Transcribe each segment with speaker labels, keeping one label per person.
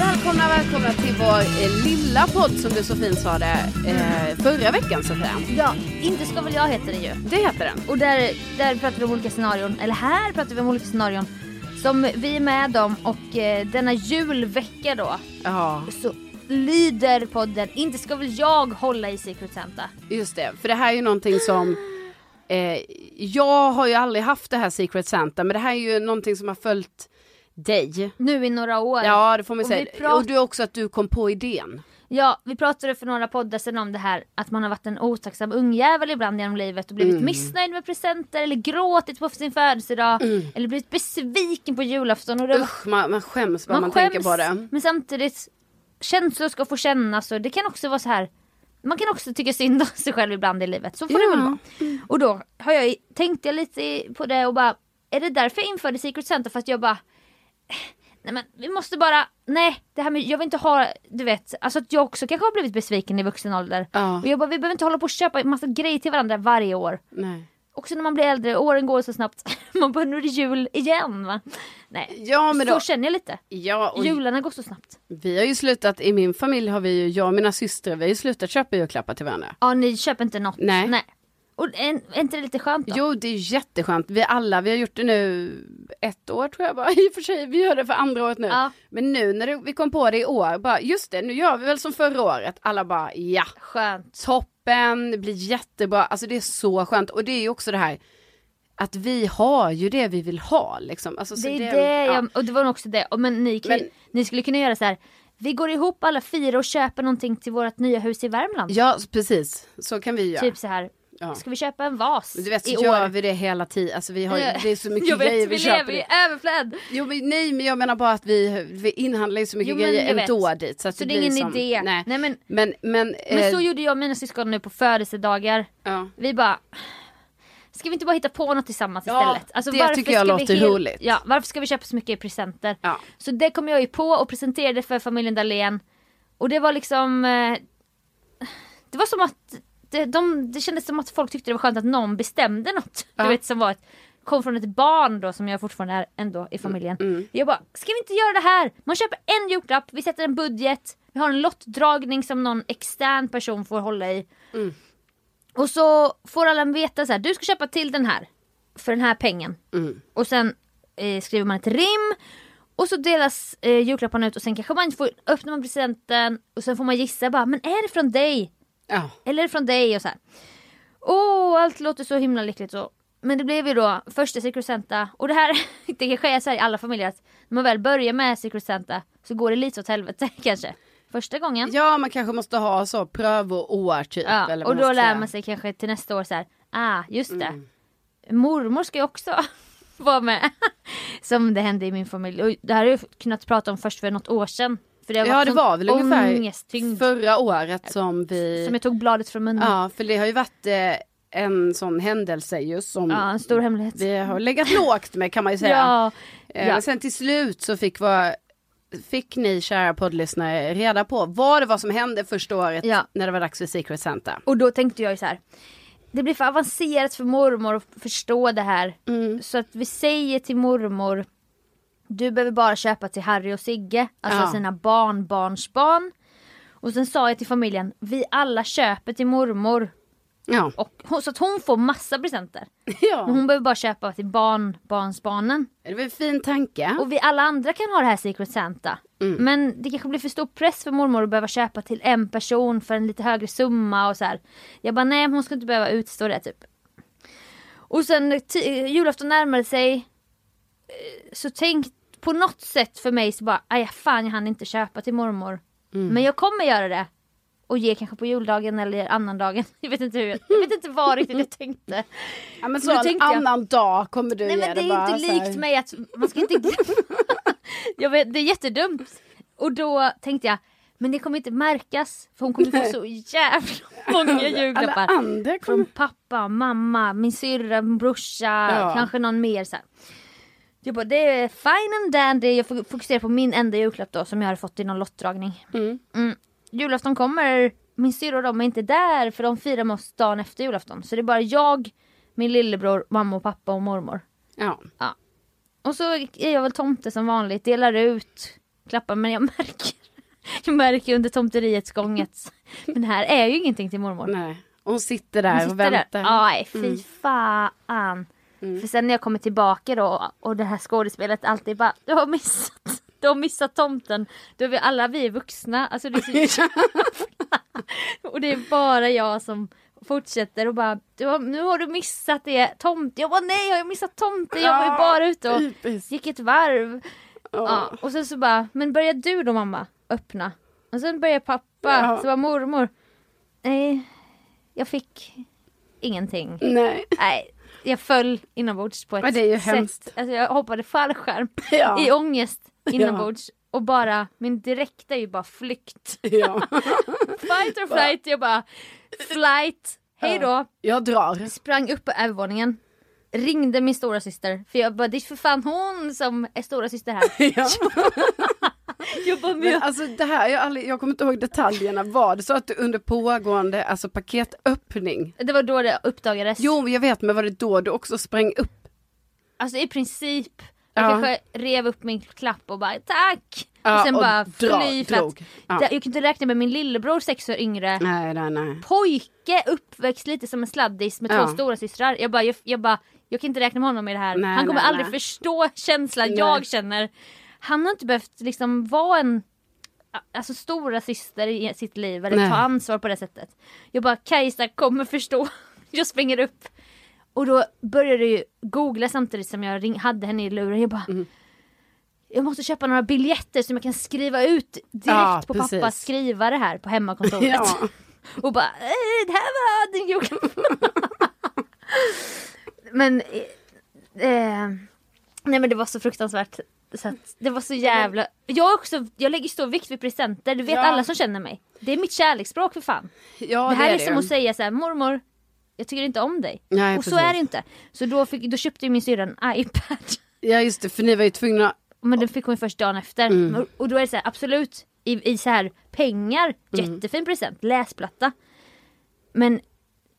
Speaker 1: Välkomna, välkomna till vår eh, lilla podd som du så fint sa det eh, förra veckan Sofia.
Speaker 2: Ja, inte ska väl jag heter det ju.
Speaker 1: Det heter den.
Speaker 2: Och där, där pratar vi om olika scenarion, eller här pratar vi om olika scenarion som vi är med om och eh, denna julvecka då
Speaker 1: Ja,
Speaker 2: så lyder podden Inte ska väl jag hålla i Secret Santa.
Speaker 1: just det. För det här är ju någonting som eh, jag har ju aldrig haft det här Secret Santa, men det här är ju någonting som har följt dig.
Speaker 2: Nu i några år.
Speaker 1: Ja, det får man
Speaker 2: Och
Speaker 1: säga.
Speaker 2: vi pratar-
Speaker 1: Och du också att du kom på idén.
Speaker 2: Ja, vi pratade för några poddar sedan om det här att man har varit en otacksam ungjävel ibland genom livet och blivit
Speaker 1: Mm.
Speaker 2: missnöjd med presenter eller gråtit på sin födelsedag
Speaker 1: Mm.
Speaker 2: eller blivit besviken på julafton. Och det var
Speaker 1: Usch, man, man skäms bara man, tänker på det.
Speaker 2: men samtidigt känslor ska få kännas och det kan också vara så här man kan också tycka synd om sig själv ibland i livet. Så får det
Speaker 1: Ja.
Speaker 2: väl vara. Och då har jag, i- tänkte jag lite i- på det och bara, är det därför jag införde Secret Santa? För att jag bara, eh, nej men vi måste bara, nej det här med, jag vill inte ha, du vet, alltså att jag också kanske har blivit besviken i vuxen ålder.
Speaker 1: Ja.
Speaker 2: Och jag bara, vi behöver inte hålla på och köpa en massa grejer till varandra varje år.
Speaker 1: Nej.
Speaker 2: Också när man blir äldre, åren går så snabbt. Man bara, nu är det jul igen va? Nej,
Speaker 1: Ja, men
Speaker 2: så
Speaker 1: då.
Speaker 2: känner jag lite.
Speaker 1: Ja, och
Speaker 2: Jularna går så snabbt.
Speaker 1: vi har ju slutat, i min familj har vi ju, jag och mina systrar, vi har ju slutat köpa julklappar till varandra.
Speaker 2: Ja ni köper inte något.
Speaker 1: Nej.
Speaker 2: Och en, är inte det lite skönt då?
Speaker 1: Jo, det är jätteskönt. Vi alla, vi har gjort det nu ett år tror jag bara. I och för sig, vi gör det för andra året nu.
Speaker 2: Ja.
Speaker 1: Men nu när det, vi kom på det i år, bara just det, nu gör vi väl som förra året. Alla bara ja,
Speaker 2: Skönt.
Speaker 1: toppen, det blir jättebra. Alltså det är så skönt. Och det är ju också det här att vi har ju det vi vill ha liksom. Alltså, så
Speaker 2: Det är det,
Speaker 1: ja.
Speaker 2: jag, och det var nog också det. Och Men ni, kan,
Speaker 1: Men-
Speaker 2: ni skulle kunna göra så här. Vi går ihop alla fyra och köper någonting till vårt nya hus i Värmland.
Speaker 1: Ja, precis. Så kan vi göra.
Speaker 2: Typ så här.
Speaker 1: Ja.
Speaker 2: Ska vi köpa en vas
Speaker 1: Du vet, så
Speaker 2: i
Speaker 1: gör
Speaker 2: år?
Speaker 1: vi det hela tiden. Alltså vi har ju,
Speaker 2: Ja.
Speaker 1: det är så mycket
Speaker 2: jag vet,
Speaker 1: grejer vi,
Speaker 2: vi
Speaker 1: köper.
Speaker 2: lever i
Speaker 1: det.
Speaker 2: överflöd.
Speaker 1: Jo men nej men jag menar bara att vi, vi inhandlar ju så mycket
Speaker 2: Jo, men
Speaker 1: grejer
Speaker 2: jag vet.
Speaker 1: ändå dit. Så, att
Speaker 2: Så
Speaker 1: det,
Speaker 2: det är
Speaker 1: blir
Speaker 2: ingen
Speaker 1: som,
Speaker 2: idé.
Speaker 1: Nej.
Speaker 2: Nej, men-
Speaker 1: men, men,
Speaker 2: Men
Speaker 1: eh,
Speaker 2: så gjorde jag och mina syskon nu på födelsedagar.
Speaker 1: ja.
Speaker 2: Vi bara Ska vi inte bara hitta på något tillsammans
Speaker 1: Ja,
Speaker 2: istället? Alltså,
Speaker 1: det
Speaker 2: varför
Speaker 1: tycker jag
Speaker 2: ska vi
Speaker 1: låter
Speaker 2: hel-
Speaker 1: roligt.
Speaker 2: Ja, varför ska vi köpa så mycket presenter?
Speaker 1: Ja.
Speaker 2: Så det kom jag ju på och presenterade för familjen Dahlén. Och det var liksom eh, Det var som att det, de, det kändes som att folk tyckte det var skönt att någon bestämde något.
Speaker 1: Ja.
Speaker 2: Du vet som var ett, kom från ett barn då som jag fortfarande är ändå i familjen.
Speaker 1: Mm,
Speaker 2: Jag bara, ska vi inte göra det här? Man köper en julklapp, vi sätter en budget, vi har en lottdragning som någon extern person får hålla i. Och så får alla veta så här, du ska köpa till den här. För den här pengen. Och sen eh, skriver man ett rim. Och så delas eh, julklapparna ut och sen kanske man får, öppnar man presenten och sen får man gissa bara, men är det från dig?
Speaker 1: Ja.
Speaker 2: Eller från dig och så här. Åh, allt låter så himla lyckligt så. Men det blev ju då första Secret Santa och det här, det kanske är så här i alla familjer att när man väl börjar med Secret Santa så går det lite åt helvete kanske. Första gången.
Speaker 1: ja man kanske måste ha så prövoår typ.
Speaker 2: Ja,
Speaker 1: eller Mm. vad man
Speaker 2: och då
Speaker 1: ska
Speaker 2: lär
Speaker 1: säga.
Speaker 2: man sig kanske till nästa år så här, ah just det. Mormor ska ju också vara med. Som det hände i min familj. Och det här har jag kunnat prata om först för något år sedan. För det har
Speaker 1: Ja
Speaker 2: varit
Speaker 1: det
Speaker 2: sån
Speaker 1: var väl ungefär
Speaker 2: ångesttyngd
Speaker 1: förra året som vi,
Speaker 2: som jag tog bladet från munnen.
Speaker 1: ja för det har ju varit eh, en sån händelse just som
Speaker 2: Ja, en stor hemlighet.
Speaker 1: vi har legat lågt med kan man ju säga.
Speaker 2: Ja,
Speaker 1: Eh,
Speaker 2: ja.
Speaker 1: Men sen till slut så fick, var, fick ni kära poddlyssnare reda på vad det var som hände första året
Speaker 2: Ja.
Speaker 1: när det var dags för Secret Santa.
Speaker 2: Och då tänkte jag ju så här. Det blir för avancerat för mormor att förstå det här.
Speaker 1: Mm.
Speaker 2: Så att vi säger till mormor. Du behöver bara köpa till Harry och Sigge. Alltså
Speaker 1: Ja.
Speaker 2: sina barnbarnsbarn. Och sen sa jag till familjen. Vi alla köper till mormor.
Speaker 1: Ja.
Speaker 2: Och, hon- så att hon får massa presenter. Men
Speaker 1: ja.
Speaker 2: hon behöver bara köpa till barnbarnsbarnen.
Speaker 1: Det var en fin tanke.
Speaker 2: Och vi alla andra kan ha det här Secret Santa. Men det kanske blir för stor press för mormor att behöva köpa till en person för en lite högre summa och så här. Jag bara nej men hon ska inte behöva utstå det typ. Och sen när ti- julafton närmade sig eh, så tänk på något sätt för mig så bara aj fan jag hann inte köpa till mormor. Men jag kommer göra det. Och ge kanske på juldagen eller annandagen. Jag vet inte hur jag, jag vet inte vad riktigt jag tänkte.
Speaker 1: Ja, men så
Speaker 2: Men då
Speaker 1: en
Speaker 2: tänkte jag-
Speaker 1: annan dag kommer du
Speaker 2: Nej
Speaker 1: ge
Speaker 2: men det är
Speaker 1: bara
Speaker 2: inte
Speaker 1: så här-
Speaker 2: likt mig att man ska inte jag vet, Det är jättedumt. Och då tänkte jag, men det kommer inte märkas för hon kommer få så jävla många
Speaker 1: Alla
Speaker 2: julklappar.
Speaker 1: andra
Speaker 2: Från
Speaker 1: kommer...
Speaker 2: pappa, mamma, min syrra, min brorsa,
Speaker 1: Ja.
Speaker 2: kanske någon mer. Så här. Jag bara, det är fine and dandy. Jag fok- fokuserar på min enda julklapp då som jag hade fått i någon lottdragning.
Speaker 1: Mm.
Speaker 2: Mm. Julafton kommer, min syrra och de är inte där för de firar med oss dagen efter julafton. Så det är bara jag, min lillebror, mamma och pappa och mormor.
Speaker 1: Ja.
Speaker 2: Och så är jag väl tomte som vanligt, delar ut klappar men jag märker jag märker under tomteriets gång att men det här är ju ingenting till mormor.
Speaker 1: Nej. Och hon sitter där
Speaker 2: Hon
Speaker 1: och
Speaker 2: sitter
Speaker 1: väntar. Mm.
Speaker 2: där. Aj, fy fan. För sen när jag kommer tillbaka då och det här skådespelet alltid bara du har missat. Du har missat tomten. Då är vi alla vi är vuxna. Alltså det är så Och det är bara jag som fortsätter och bara du har, nu har du missat det tomt. Jag bara nej jag har missat tomten. Jag var ju
Speaker 1: Ja,
Speaker 2: bara ute och
Speaker 1: Typiskt.
Speaker 2: gick ett varv.
Speaker 1: Ja.
Speaker 2: Ja, och sen så bara, men börjar du då mamma öppna? Och sen börjar pappa,
Speaker 1: Ja.
Speaker 2: så bara mormor. Nej, jag fick ingenting.
Speaker 1: Nej.
Speaker 2: Nej, jag föll inombords på ett
Speaker 1: Ja, det är ju
Speaker 2: sätt.
Speaker 1: hemskt.
Speaker 2: Alltså jag hoppade fallskärm
Speaker 1: Ja.
Speaker 2: i ångest inombords. Och bara, min direkta är ju bara flykt.
Speaker 1: Ja.
Speaker 2: Fight or flight, jag bara flight. Hej då.
Speaker 1: Jag drar.
Speaker 2: Sprang upp på övervåningen. Ringde min stora syster. För jag bara, det är för fan hon som är stora syster här.
Speaker 1: Ja.
Speaker 2: Jag bara, men
Speaker 1: Men
Speaker 2: jag
Speaker 1: alltså det här, jag, har aldrig, jag kommer inte ihåg detaljerna. Var det så att du under pågående alltså paketöppning?
Speaker 2: Det var då det uppdagades.
Speaker 1: Jo, men jag vet, men var det då du också sprang upp?
Speaker 2: Alltså i princip. Jag
Speaker 1: Ja.
Speaker 2: kanske rev upp min klapp och bara tack!
Speaker 1: Ja,
Speaker 2: och sen
Speaker 1: och
Speaker 2: bara
Speaker 1: dra-
Speaker 2: fly för att
Speaker 1: drog. Ja.
Speaker 2: det- Jag kunde inte räkna med min lillebror sex år yngre.
Speaker 1: Nej, nej, nej.
Speaker 2: Pojke uppväxt lite som en sladdis med
Speaker 1: Ja.
Speaker 2: två stora systrar. Jag bara, jag, jag bara, jag kan inte räkna med honom i det här.
Speaker 1: Nej,
Speaker 2: Han kommer
Speaker 1: nej,
Speaker 2: aldrig
Speaker 1: nej.
Speaker 2: förstå känslan
Speaker 1: Nej.
Speaker 2: jag känner. Han har inte behövt liksom vara en Alltså stora syster i sitt liv eller
Speaker 1: Nej.
Speaker 2: ta ansvar på det sättet. Jag bara Kajsa kommer förstå. Jag springer upp. Och då började jag ju googla samtidigt som jag ring, hade henne i luren. Jag bara
Speaker 1: Mm.
Speaker 2: Jag måste köpa några biljetter som jag kan skriva ut direkt
Speaker 1: Ja,
Speaker 2: på
Speaker 1: precis.
Speaker 2: pappas skrivare här på hemmakontoret.
Speaker 1: Ja.
Speaker 2: Och bara "Eh, det här var din julklapp. men eh, eh, Nej men det var så fruktansvärt. Så att, det var så jävla... Jag, är också, jag lägger stor vikt vid presenter, det vet
Speaker 1: Ja.
Speaker 2: alla som känner mig. Det är mitt kärleksspråk för fan.
Speaker 1: ja,
Speaker 2: det här är,
Speaker 1: det.
Speaker 2: som att säga så här, mormor, jag tycker inte om dig.
Speaker 1: Nej,
Speaker 2: och så
Speaker 1: precis.
Speaker 2: är det inte. Så då, fick, då köpte ju min syrra en iPad.
Speaker 1: Ja, just det, för ni var ju tvungna.
Speaker 2: Men den fick hon ju först dagen efter. Och- Och då är det så här, absolut, i, i så här pengar, jättefin present, läsplatta. Men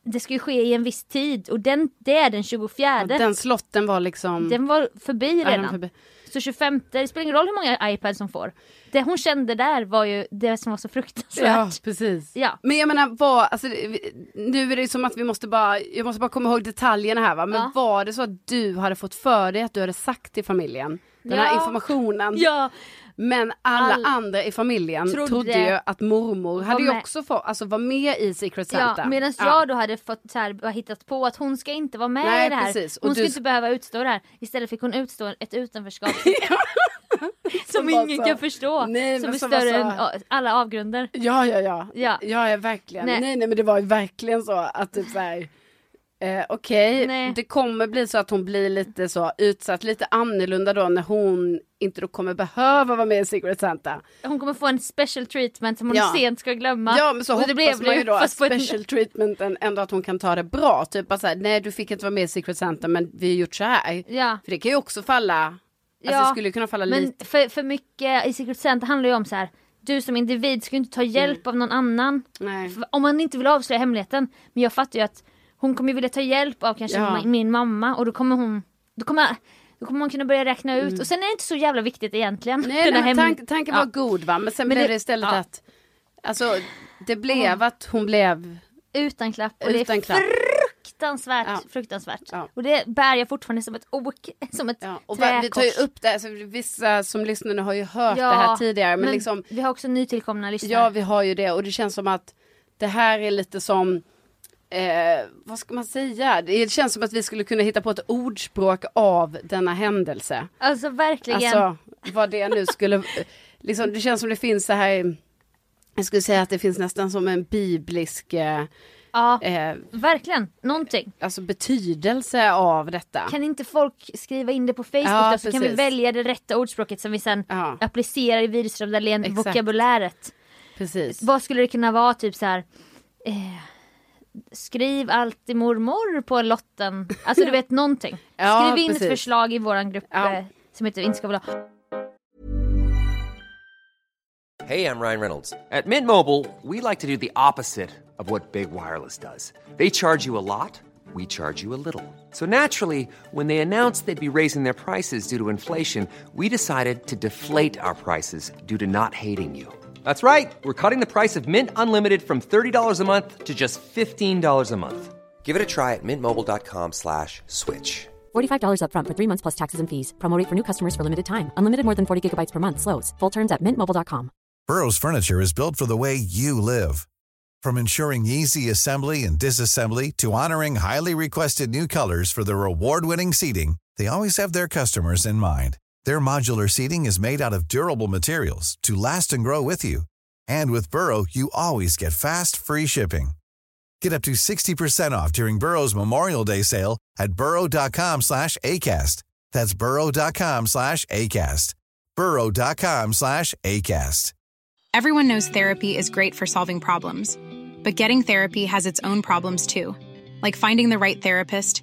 Speaker 2: det ska ju ske i en viss tid och den, det är den 24. den,
Speaker 1: Den slotten var liksom...
Speaker 2: var förbi
Speaker 1: Ja, de
Speaker 2: redan.
Speaker 1: förbi-
Speaker 2: Så 25, det spelar ingen roll hur många iPads hon får. Det hon kände där var ju det som var så
Speaker 1: Ja,
Speaker 2: fruktansvärt.
Speaker 1: precis.
Speaker 2: Ja.
Speaker 1: Men jag menar, vad, alltså, det- vi- nu är det som att vi måste bara, jag måste bara komma ihåg detaljerna här va, men
Speaker 2: Ja.
Speaker 1: var det så att du hade fått för dig att du hade sagt till familjen, den här
Speaker 2: Ja.
Speaker 1: informationen,
Speaker 2: Ja,
Speaker 1: men alla
Speaker 2: All-
Speaker 1: andra i familjen
Speaker 2: Trodde-
Speaker 1: trodde, ju att mormor hade ju
Speaker 2: med.
Speaker 1: också fått, alltså var med i Secret Santa.
Speaker 2: ja medan
Speaker 1: Ja.
Speaker 2: jag då hade fått så här, bara hittat på att hon ska inte vara med
Speaker 1: Nej,
Speaker 2: i det här.
Speaker 1: precis. Och
Speaker 2: Hon ska
Speaker 1: du-
Speaker 2: inte behöva utstå det här. Istället fick hon utstå ett utanförskap som
Speaker 1: var
Speaker 2: ingen
Speaker 1: så-
Speaker 2: kan förstå.
Speaker 1: alltså- Nej,
Speaker 2: som
Speaker 1: men
Speaker 2: är
Speaker 1: som alltså- var
Speaker 2: större
Speaker 1: så-
Speaker 2: än ja, alla avgrunder.
Speaker 1: Ja, ja, ja.
Speaker 2: Ja.
Speaker 1: Ja, ja verkligen.
Speaker 2: Nej.
Speaker 1: Nej. nej, men det var ju verkligen så att typ så här, Eh, Okej,
Speaker 2: Nej.
Speaker 1: det kommer bli så att hon blir lite så utsatt, lite annorlunda då när hon inte då kommer behöva vara med i Secret Santa.
Speaker 2: Hon kommer få en special treatment som hon
Speaker 1: Ja.
Speaker 2: sent ska glömma.
Speaker 1: Ja men så
Speaker 2: Och
Speaker 1: hoppas man ju då att
Speaker 2: fast på ett-
Speaker 1: special treatmenten ändå att hon kan ta det bra. Typ bara så här, nej du fick inte vara med i Secret Santa men vi har gjort så här.
Speaker 2: Ja.
Speaker 1: För det kan ju också falla, alltså
Speaker 2: Ja,
Speaker 1: det skulle ju kunna falla
Speaker 2: Men
Speaker 1: lite.
Speaker 2: för, för mycket i Secret Santa handlar ju om så här. Du som individ ska ju inte ta hjälp av någon annan.
Speaker 1: Mm. Nej.
Speaker 2: För Om man inte vill avslöja hemligheten. Men jag fattar ju att hon kommer ju vilja ta hjälp av kanske
Speaker 1: Ja.
Speaker 2: ma- min mamma och då kommer hon då kommer, då kommer hon kunna börja räkna ut. Och sen är det inte så jävla viktigt egentligen.
Speaker 1: Mm. Nej,
Speaker 2: den här
Speaker 1: nej men
Speaker 2: hemli-
Speaker 1: tank, tanken
Speaker 2: Ja.
Speaker 1: var god va, men sen
Speaker 2: Men
Speaker 1: blev
Speaker 2: det-
Speaker 1: det istället
Speaker 2: ja.
Speaker 1: att, alltså det blev att hon blev,
Speaker 2: Utan klapp och det är
Speaker 1: Utan klapp.
Speaker 2: fruktansvärt,
Speaker 1: Ja.
Speaker 2: fruktansvärt.
Speaker 1: Ja.
Speaker 2: Och det bär jag fortfarande som ett ok, som ett
Speaker 1: ja. och va,
Speaker 2: träkors.
Speaker 1: vi tar ju upp det, här, så vissa som lyssnar nu har ju hört
Speaker 2: Ja,
Speaker 1: det här tidigare men, liksom,
Speaker 2: vi har också nytillkomna lyssnare.
Speaker 1: ja vi har ju det och det känns som att det här är lite som Eh, vad ska man säga? Det känns som att vi skulle kunna hitta på ett ordspråk av denna händelse.
Speaker 2: Alltså verkligen.
Speaker 1: Alltså vad det nu skulle, liksom, det känns som det finns så här, jag skulle säga att det finns nästan som en biblisk eh,
Speaker 2: ja,
Speaker 1: eh,
Speaker 2: verkligen. Någonting.
Speaker 1: alltså betydelse av detta.
Speaker 2: Kan inte folk skriva in det på Facebook
Speaker 1: Ja,
Speaker 2: då, så kan vi
Speaker 1: precis.
Speaker 2: välja det rätta ordspråket som vi sen
Speaker 1: Ja.
Speaker 2: applicerar i Widerström Dahlén
Speaker 1: Exakt.
Speaker 2: vokabuläret.
Speaker 1: Precis.
Speaker 2: Vad skulle det kunna vara typ så här. Eh, skriv alltid mormor på lotten. Alltså du vet någonting.
Speaker 1: Ja,
Speaker 2: skriv in ett
Speaker 1: precis.
Speaker 2: förslag i våran grupp
Speaker 1: Ja.
Speaker 2: eh, som heter Inte ska vilja ha.
Speaker 3: Hey, I'm Ryan Reynolds. At Mint Mobile, we like to do the opposite of what Big Wireless does. They charge you a lot, we charge you a little. So naturally, when they announced they'd be raising their prices due to inflation, we decided to deflate our prices due to not hating you. That's right. We're cutting the price of Mint Unlimited from $30 a month to just $15 a month. Give it a try at mintmobile.com slash switch.
Speaker 4: $45 upfront for three months plus taxes and fees. Promo rate for new customers for limited time. Unlimited more than 40 gigabytes per month. Slows. Full terms at mintmobile.com.
Speaker 5: Burrow's furniture is built for the way you live. From ensuring easy assembly and disassembly to honoring highly requested new colors for their award-winning seating, they always have their customers in mind. Their modular seating is made out of durable materials to last and grow with you. And with Burrow, you always get fast, free shipping. Get up to 60% off during Burrow's Memorial Day sale at burrow.com slash ACAST. That's burrow.com slash ACAST. burrow.com slash ACAST.
Speaker 6: Everyone knows therapy is great for solving problems, but getting therapy has its own problems too, like finding the right therapist,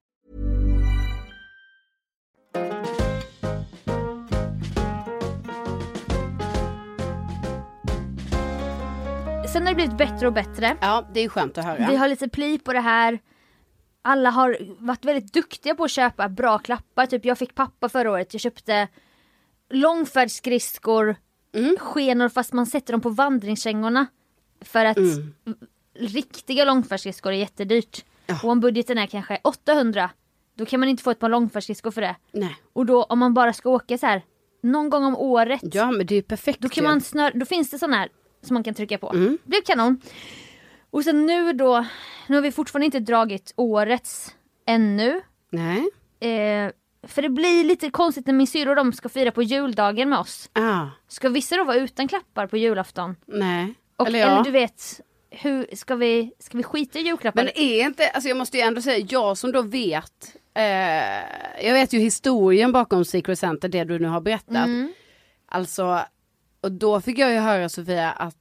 Speaker 2: Sen har det blivit bättre och bättre.
Speaker 1: Ja, det är skönt att höra.
Speaker 2: Vi har lite pli på det här. Alla har varit väldigt duktiga på att köpa bra klappar. Typ jag fick pappa förra året. Jag köpte långfärdsskridskor,
Speaker 1: Mm.
Speaker 2: skenor fast man sätter dem på vandringskängorna. För att
Speaker 1: Mm.
Speaker 2: riktiga långfärdsskridskor är jättedyrt. Och om budgeten är kanske 800 då kan man inte få ett par långfärdsskridskor för det.
Speaker 1: Nej.
Speaker 2: Och då om man bara ska åka så här någon gång om året
Speaker 1: Ja, men det är ju perfekt.
Speaker 2: då kan
Speaker 1: ju.
Speaker 2: man snör, då finns det sån här som man kan trycka på.
Speaker 1: Mm.
Speaker 2: Det är kanon. Och sen nu då, nu har vi fortfarande inte dragit årets ännu.
Speaker 1: Nej.
Speaker 2: Eh, för det blir lite konstigt när min syrra och de ska fira på juldagen med oss.
Speaker 1: Ah,
Speaker 2: Ska vissa då vara utan klappar på julafton?
Speaker 1: nej.
Speaker 2: Och, eller,
Speaker 1: eller, ja.
Speaker 2: du vet, hur ska vi, ska vi skita i julklappar?
Speaker 1: Men är inte, alltså jag måste ju ändå säga, jag som då vet, eh, jag vet ju historien bakom Secret Center, det du nu har berättat.
Speaker 2: Mm.
Speaker 1: Alltså, och då fick jag ju höra Sofia att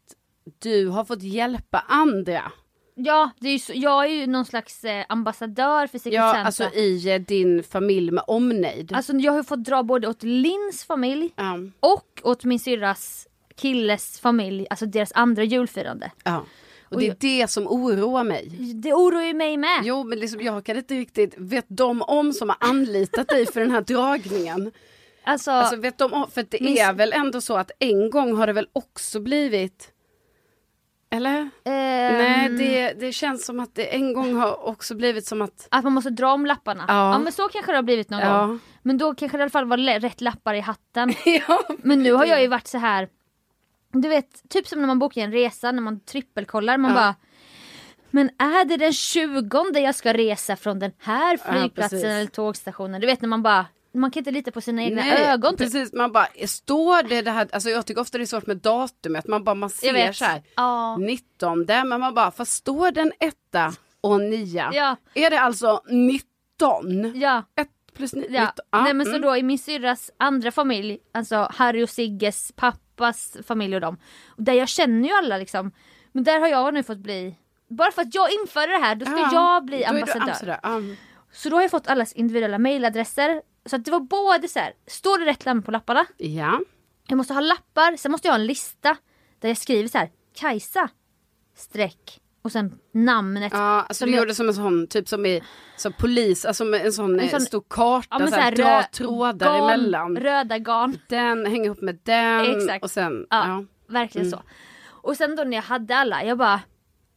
Speaker 1: du har fått hjälpa andra.
Speaker 2: Ja, det är ju så, jag är ju någon slags eh, ambassadör för Secret
Speaker 1: Ja,
Speaker 2: Santa.
Speaker 1: alltså i eh, din familj med omnejd.
Speaker 2: Alltså jag har ju fått dra både åt Lins familj
Speaker 1: ja,
Speaker 2: och åt min syrras killes familj, alltså deras andra julfirande.
Speaker 1: ja. Och det är det som oroar mig.
Speaker 2: Det oroar ju mig med.
Speaker 1: Jo, men liksom, jag kan inte riktigt... Vet de om som har anlitat dig för den här dragningen?
Speaker 2: Alltså,
Speaker 1: Alltså, vet de om? För det
Speaker 2: Min-
Speaker 1: är väl ändå så att en gång har det väl också blivit... Eller?
Speaker 2: ehm,
Speaker 1: Nej, det, det känns som att det en gång har också blivit som att...
Speaker 2: Att man måste dra om lapparna.
Speaker 1: Ja.
Speaker 2: Ja, men så kanske det har blivit någon
Speaker 1: Ja.
Speaker 2: gång. Men då kanske det i alla fall var le- rätt lappar i hatten.
Speaker 1: Ja,
Speaker 2: Men nu har jag ju varit så här. Du vet, typ som när man bokar en resa, när man trippelkollar. Man
Speaker 1: Ja.
Speaker 2: bara men är det den 20 jag ska resa från den här flygplatsen
Speaker 1: precis.
Speaker 2: eller tågstationen? Du vet när man bara, man kan inte lita på sina egna
Speaker 1: Nej,
Speaker 2: ögon. Typ.
Speaker 1: Precis, man bara, står det det här, alltså jag tycker ofta det är svårt med datumet, man bara man
Speaker 2: Jag
Speaker 1: ser
Speaker 2: vet.
Speaker 1: så här,
Speaker 2: Ja.
Speaker 1: 19 där, men man bara, fast står den etta och nia?
Speaker 2: Ja.
Speaker 1: Är det alltså 19?
Speaker 2: Ja.
Speaker 1: 1 plus 9?
Speaker 2: Ja.
Speaker 1: ah,
Speaker 2: Nej
Speaker 1: mm.
Speaker 2: men så då i min syrras andra familj, alltså Harry och Sigges pappas familj och dem. Och där jag känner ju alla liksom. Men där har jag nu fått bli, bara för att jag införde det här då ska jag bli ambassadör. Så då har jag fått allas individuella mailadresser. Så att det var både så här, står det rätt namn på lapparna?
Speaker 1: Ja,
Speaker 2: Jag måste ha lappar, sen måste jag ha en lista där jag skriver så här, Kajsa, streck och sen namnet.
Speaker 1: ja alltså
Speaker 2: Som
Speaker 1: du
Speaker 2: jag-
Speaker 1: gjorde som en sån, typ som i som polis, alltså med en sån,
Speaker 2: En
Speaker 1: eh,
Speaker 2: sån-
Speaker 1: stor karta,
Speaker 2: Ja,
Speaker 1: så här,
Speaker 2: så här
Speaker 1: dra
Speaker 2: rö-
Speaker 1: trådar
Speaker 2: garn,
Speaker 1: emellan.
Speaker 2: Röda garn.
Speaker 1: Den hänger ihop med den
Speaker 2: Exakt.
Speaker 1: Ehm, och sen,
Speaker 2: Ja,
Speaker 1: ja. Mm.
Speaker 2: verkligen så. Och sen då när jag hade alla, jag bara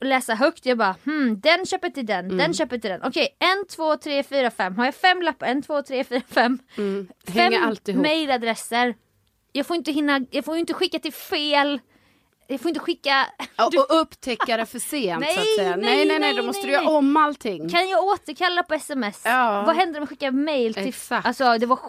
Speaker 2: läsa högt, jag bara hmm, den köper till den,
Speaker 1: Mm.
Speaker 2: den köper till den. Okej, en, två, tre, fyra, fem. Har jag fem lappar? En, två, tre, fyra, fem.
Speaker 1: Mm. Hänger
Speaker 2: Fem
Speaker 1: allt ihop.
Speaker 2: mailadresser. Jag får inte hinna, jag får ju inte skicka till fel. Jag får inte skicka,
Speaker 1: Ja, Och upptäcka det för sent så att
Speaker 2: Nej,
Speaker 1: säga.
Speaker 2: nej,
Speaker 1: Nej, nej, nej,
Speaker 2: nej,
Speaker 1: då måste
Speaker 2: nej,
Speaker 1: du göra
Speaker 2: nej.
Speaker 1: om allting.
Speaker 2: kan jag återkalla på sms?
Speaker 1: Ja.
Speaker 2: Vad händer om jag skickar mail till...
Speaker 1: Exakt.
Speaker 2: Alltså det var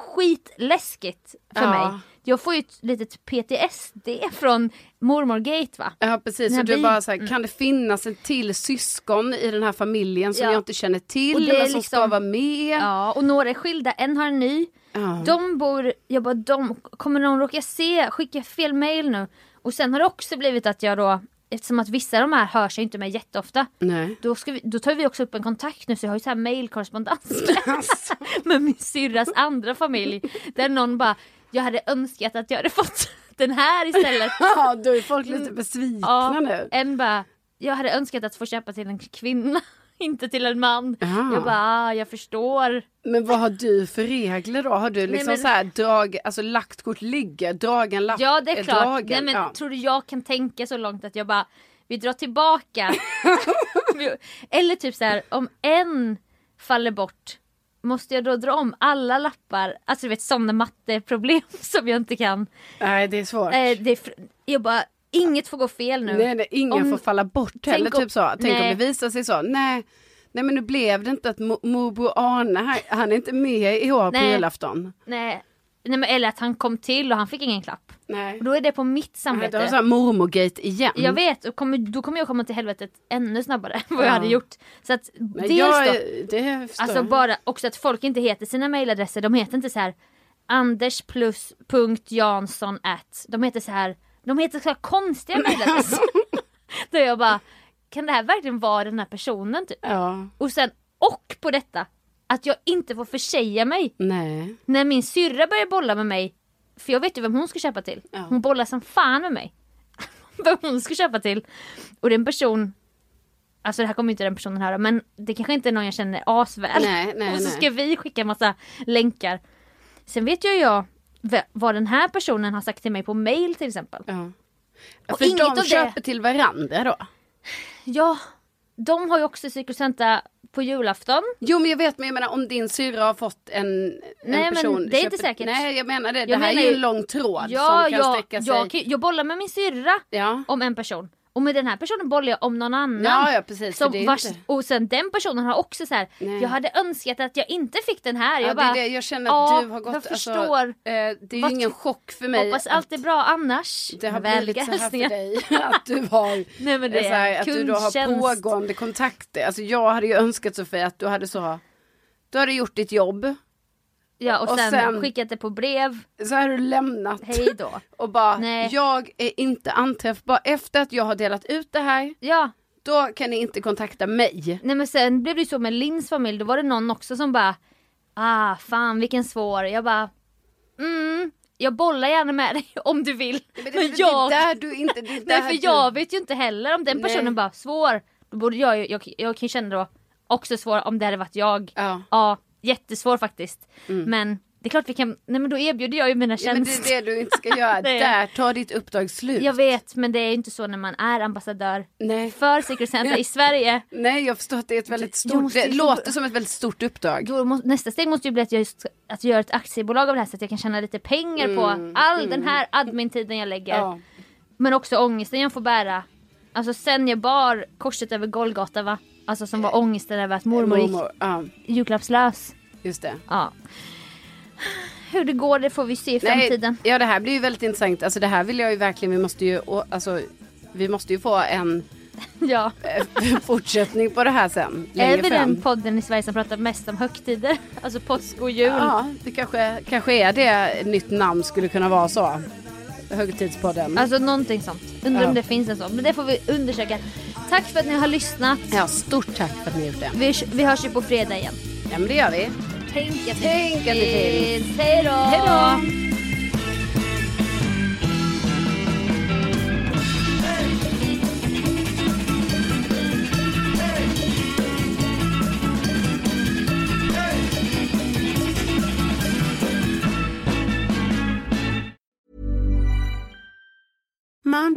Speaker 2: skitläskigt för
Speaker 1: Ja.
Speaker 2: mig. Jag får ju ett litet PTSD från mormorgate va?
Speaker 1: Ja precis,
Speaker 2: Den
Speaker 1: så
Speaker 2: här
Speaker 1: du är bara
Speaker 2: bilen.
Speaker 1: så här, kan det finnas en till syskon i den här familjen som
Speaker 2: Ja.
Speaker 1: jag inte känner till
Speaker 2: Och det är
Speaker 1: eller som ska
Speaker 2: liksom-
Speaker 1: vara med?
Speaker 2: Ja, och några är skilda, en har en ny.
Speaker 1: Ja.
Speaker 2: De bor, jag bara, de, kommer någon råka se, skicka fel mail nu? Och sen har det också blivit att jag då, eftersom att vissa av de här hör sig inte med jätteofta,
Speaker 1: Nej.
Speaker 2: då, ska vi, då tar vi också upp en kontakt nu så jag har ju så här mailkorrespondens med,
Speaker 1: Alltså.
Speaker 2: med min syrras andra familj. Där någon bara, jag hade önskat att jag hade fått den här istället.
Speaker 1: Ja, då är folk lite
Speaker 2: Mm.
Speaker 1: besvikna nu.
Speaker 2: en bara, jag hade önskat att få köpa till en kvinna, inte till en man.
Speaker 1: Ja.
Speaker 2: Jag bara, ah, jag förstår.
Speaker 1: Men vad har du för regler då? Har du liksom
Speaker 2: men-
Speaker 1: så här, drag, alltså lagt kort ligger, dragen lapp
Speaker 2: Ja det är klart. Nej,
Speaker 1: dragen?
Speaker 2: men,
Speaker 1: ja.
Speaker 2: Tror du jag kan tänka så långt att jag bara, vi drar tillbaka. Vi- Eller typ så här, om en faller bort, måste jag då dra om alla lappar? Alltså du vet sådana matteproblem som jag inte kan.
Speaker 1: Nej, det är svårt.
Speaker 2: Eh, det är, fr- jag bara, inget får gå fel nu.
Speaker 1: Nej, nej, ingen
Speaker 2: Om-
Speaker 1: får falla bort
Speaker 2: Tänk
Speaker 1: heller.
Speaker 2: om-
Speaker 1: typ så. Tänk om
Speaker 2: nej.
Speaker 1: det visar sig så. Nej, nej men nu blev det inte att mo- morbror Arne, han, han är inte med i år på
Speaker 2: Nej.
Speaker 1: julafton.
Speaker 2: Nej. Nej, men, eller att han kom till och han fick ingen klapp.
Speaker 1: Nej.
Speaker 2: Och då är det på mitt
Speaker 1: Nej, Då har
Speaker 2: samvete.
Speaker 1: du så här mormorgate igen.
Speaker 2: Jag vet, och kommer, då kommer jag komma till helvetet ännu snabbare än
Speaker 1: Mm.
Speaker 2: vad jag
Speaker 1: Ja.
Speaker 2: hade gjort. Så att
Speaker 1: Men
Speaker 2: dels
Speaker 1: jag,
Speaker 2: då,
Speaker 1: det förstår
Speaker 2: Alltså
Speaker 1: jag.
Speaker 2: bara också att folk inte heter sina mailadresser, de heter inte så här Anders plus punkt Jansson at. De heter så här, de heter så här konstiga mailadresser. Då jag bara, kan det här verkligen vara den här personen typ?
Speaker 1: Ja,
Speaker 2: Och sen, och på detta, att jag inte får försäga mig
Speaker 1: nej.
Speaker 2: när min syrra börjar bolla med mig. För jag vet ju vem hon ska köpa till.
Speaker 1: Ja.
Speaker 2: Hon bollar som fan med mig. vem hon ska köpa till. Och det är en person Alltså det här kommer ju inte den personen höra men det kanske inte är någon jag känner asväl.
Speaker 1: Nej, nej,
Speaker 2: och så
Speaker 1: nej.
Speaker 2: ska vi skicka en massa länkar. Sen vet ju jag v- vad den här personen har sagt till mig på mail till exempel.
Speaker 1: Ja.
Speaker 2: Och
Speaker 1: För
Speaker 2: inget av
Speaker 1: de
Speaker 2: det-
Speaker 1: köper till varandra då?
Speaker 2: Ja, de har ju också Secret Santa på julafton.
Speaker 1: Jo men jag vet men jag menar om din syrra har fått en,
Speaker 2: Nej,
Speaker 1: en
Speaker 2: men
Speaker 1: person.
Speaker 2: det är inte
Speaker 1: köper-
Speaker 2: säkert.
Speaker 1: Nej jag menar det. det
Speaker 2: Jag
Speaker 1: här
Speaker 2: menar
Speaker 1: är ju
Speaker 2: ju-
Speaker 1: en lång tråd
Speaker 2: ja,
Speaker 1: som kan
Speaker 2: jag,
Speaker 1: sträcka sig.
Speaker 2: jag, kan- jag bollar med min syrra
Speaker 1: Ja.
Speaker 2: om en person. Och med den här personen bollar jag om någon annan.
Speaker 1: Ja, ja, precis, för
Speaker 2: Som
Speaker 1: det är
Speaker 2: vars,
Speaker 1: inte-
Speaker 2: Och sen den personen har också så här.
Speaker 1: Nej.
Speaker 2: jag hade önskat att jag inte fick den här.
Speaker 1: Ja,
Speaker 2: Jag
Speaker 1: det
Speaker 2: bara,
Speaker 1: är det. Jag känner att
Speaker 2: ja,
Speaker 1: du har gått...
Speaker 2: jag förstår.
Speaker 1: Alltså, eh, det är ju
Speaker 2: Vad-
Speaker 1: ingen chock för mig.
Speaker 2: Hoppas
Speaker 1: att
Speaker 2: allt är bra annars.
Speaker 1: Det har
Speaker 2: Vänliga
Speaker 1: blivit så här för
Speaker 2: hälsningar.
Speaker 1: dig. Att du har...
Speaker 2: Nej men
Speaker 1: Det
Speaker 2: det
Speaker 1: är så här,
Speaker 2: är
Speaker 1: att du då har
Speaker 2: kundtjänst.
Speaker 1: pågående kontakter. Alltså jag hade ju önskat Sofia att du hade så... Du hade gjort ditt jobb.
Speaker 2: Ja och,
Speaker 1: och
Speaker 2: sen,
Speaker 1: sen-
Speaker 2: skickat det på brev.
Speaker 1: Så hade du lämnat.
Speaker 2: Hej då.
Speaker 1: Och bara,
Speaker 2: Nej.
Speaker 1: jag är inte anträffbar. Efter att jag har delat ut det här,
Speaker 2: Ja.
Speaker 1: då kan ni inte kontakta mig.
Speaker 2: Nej men sen blev det ju så med Lins familj, då var det någon också som bara Ah fan vilken svår, jag bara Mm, jag bollar gärna med dig om du vill.
Speaker 1: Men det,
Speaker 2: Men
Speaker 1: det,
Speaker 2: jag,
Speaker 1: det är där du inte... Det är där
Speaker 2: nej för
Speaker 1: du,
Speaker 2: jag vet ju inte heller om den
Speaker 1: Nej.
Speaker 2: personen bara svår. Då borde jag ju, jag, jag kan ju känna då också svår om det hade varit jag.
Speaker 1: Ja. Mm.
Speaker 2: Ja, jättesvår faktiskt. Men det är klart vi kan, nej men då erbjuder jag ju mina
Speaker 1: Ja, men det är
Speaker 2: tjänster.
Speaker 1: det du inte ska göra.
Speaker 2: Nej.
Speaker 1: Där tar ditt uppdrag slut.
Speaker 2: jag vet men det är ju inte så när man är ambassadör
Speaker 1: Nej.
Speaker 2: för Secret Santa i Sverige.
Speaker 1: Nej, jag förstår att det är ett väldigt
Speaker 2: Jag
Speaker 1: stort...
Speaker 2: måste
Speaker 1: det
Speaker 2: ju-
Speaker 1: låter som ett väldigt stort uppdrag.
Speaker 2: Då må, nästa steg måste ju bli att jag, just, att jag gör ett aktiebolag av det här så att jag kan tjäna lite pengar på all den här admin-tiden jag lägger.
Speaker 1: Mm. Ja.
Speaker 2: Men också ångesten jag får bära. Alltså sen jag bar korset över Golgata va? Alltså som var ångesten över att mormor,
Speaker 1: Eh, Mormor, Ja,
Speaker 2: gick julklappslös.
Speaker 1: just det.
Speaker 2: Ja. Hur det går det får vi se i framtiden.
Speaker 1: ja, det här blir ju väldigt intressant. Alltså det här vill jag ju verkligen... Vi måste ju... å- Alltså, vi måste ju få en
Speaker 2: Ja.
Speaker 1: eh, fortsättning på det här sen.
Speaker 2: Är
Speaker 1: längre
Speaker 2: vi
Speaker 1: fram.
Speaker 2: den podden i Sverige som pratar mest om högtider? Alltså påsk och jul.
Speaker 1: Ja, det kanske, kanske är det ett nytt namn skulle kunna vara så. Högtidspodden.
Speaker 2: Alltså någonting sånt. Undrar
Speaker 1: Ja.
Speaker 2: om det finns en sån. Men det får vi undersöka. Tack för att ni har lyssnat.
Speaker 1: Ja, stort tack för att ni gjort det.
Speaker 2: Vi, vi hörs ju på fredag igen.
Speaker 1: Ja, men det gör vi.
Speaker 2: Tänk att det
Speaker 1: Tänk att det
Speaker 2: finns. Hej då!
Speaker 1: Hej då!
Speaker 7: Mom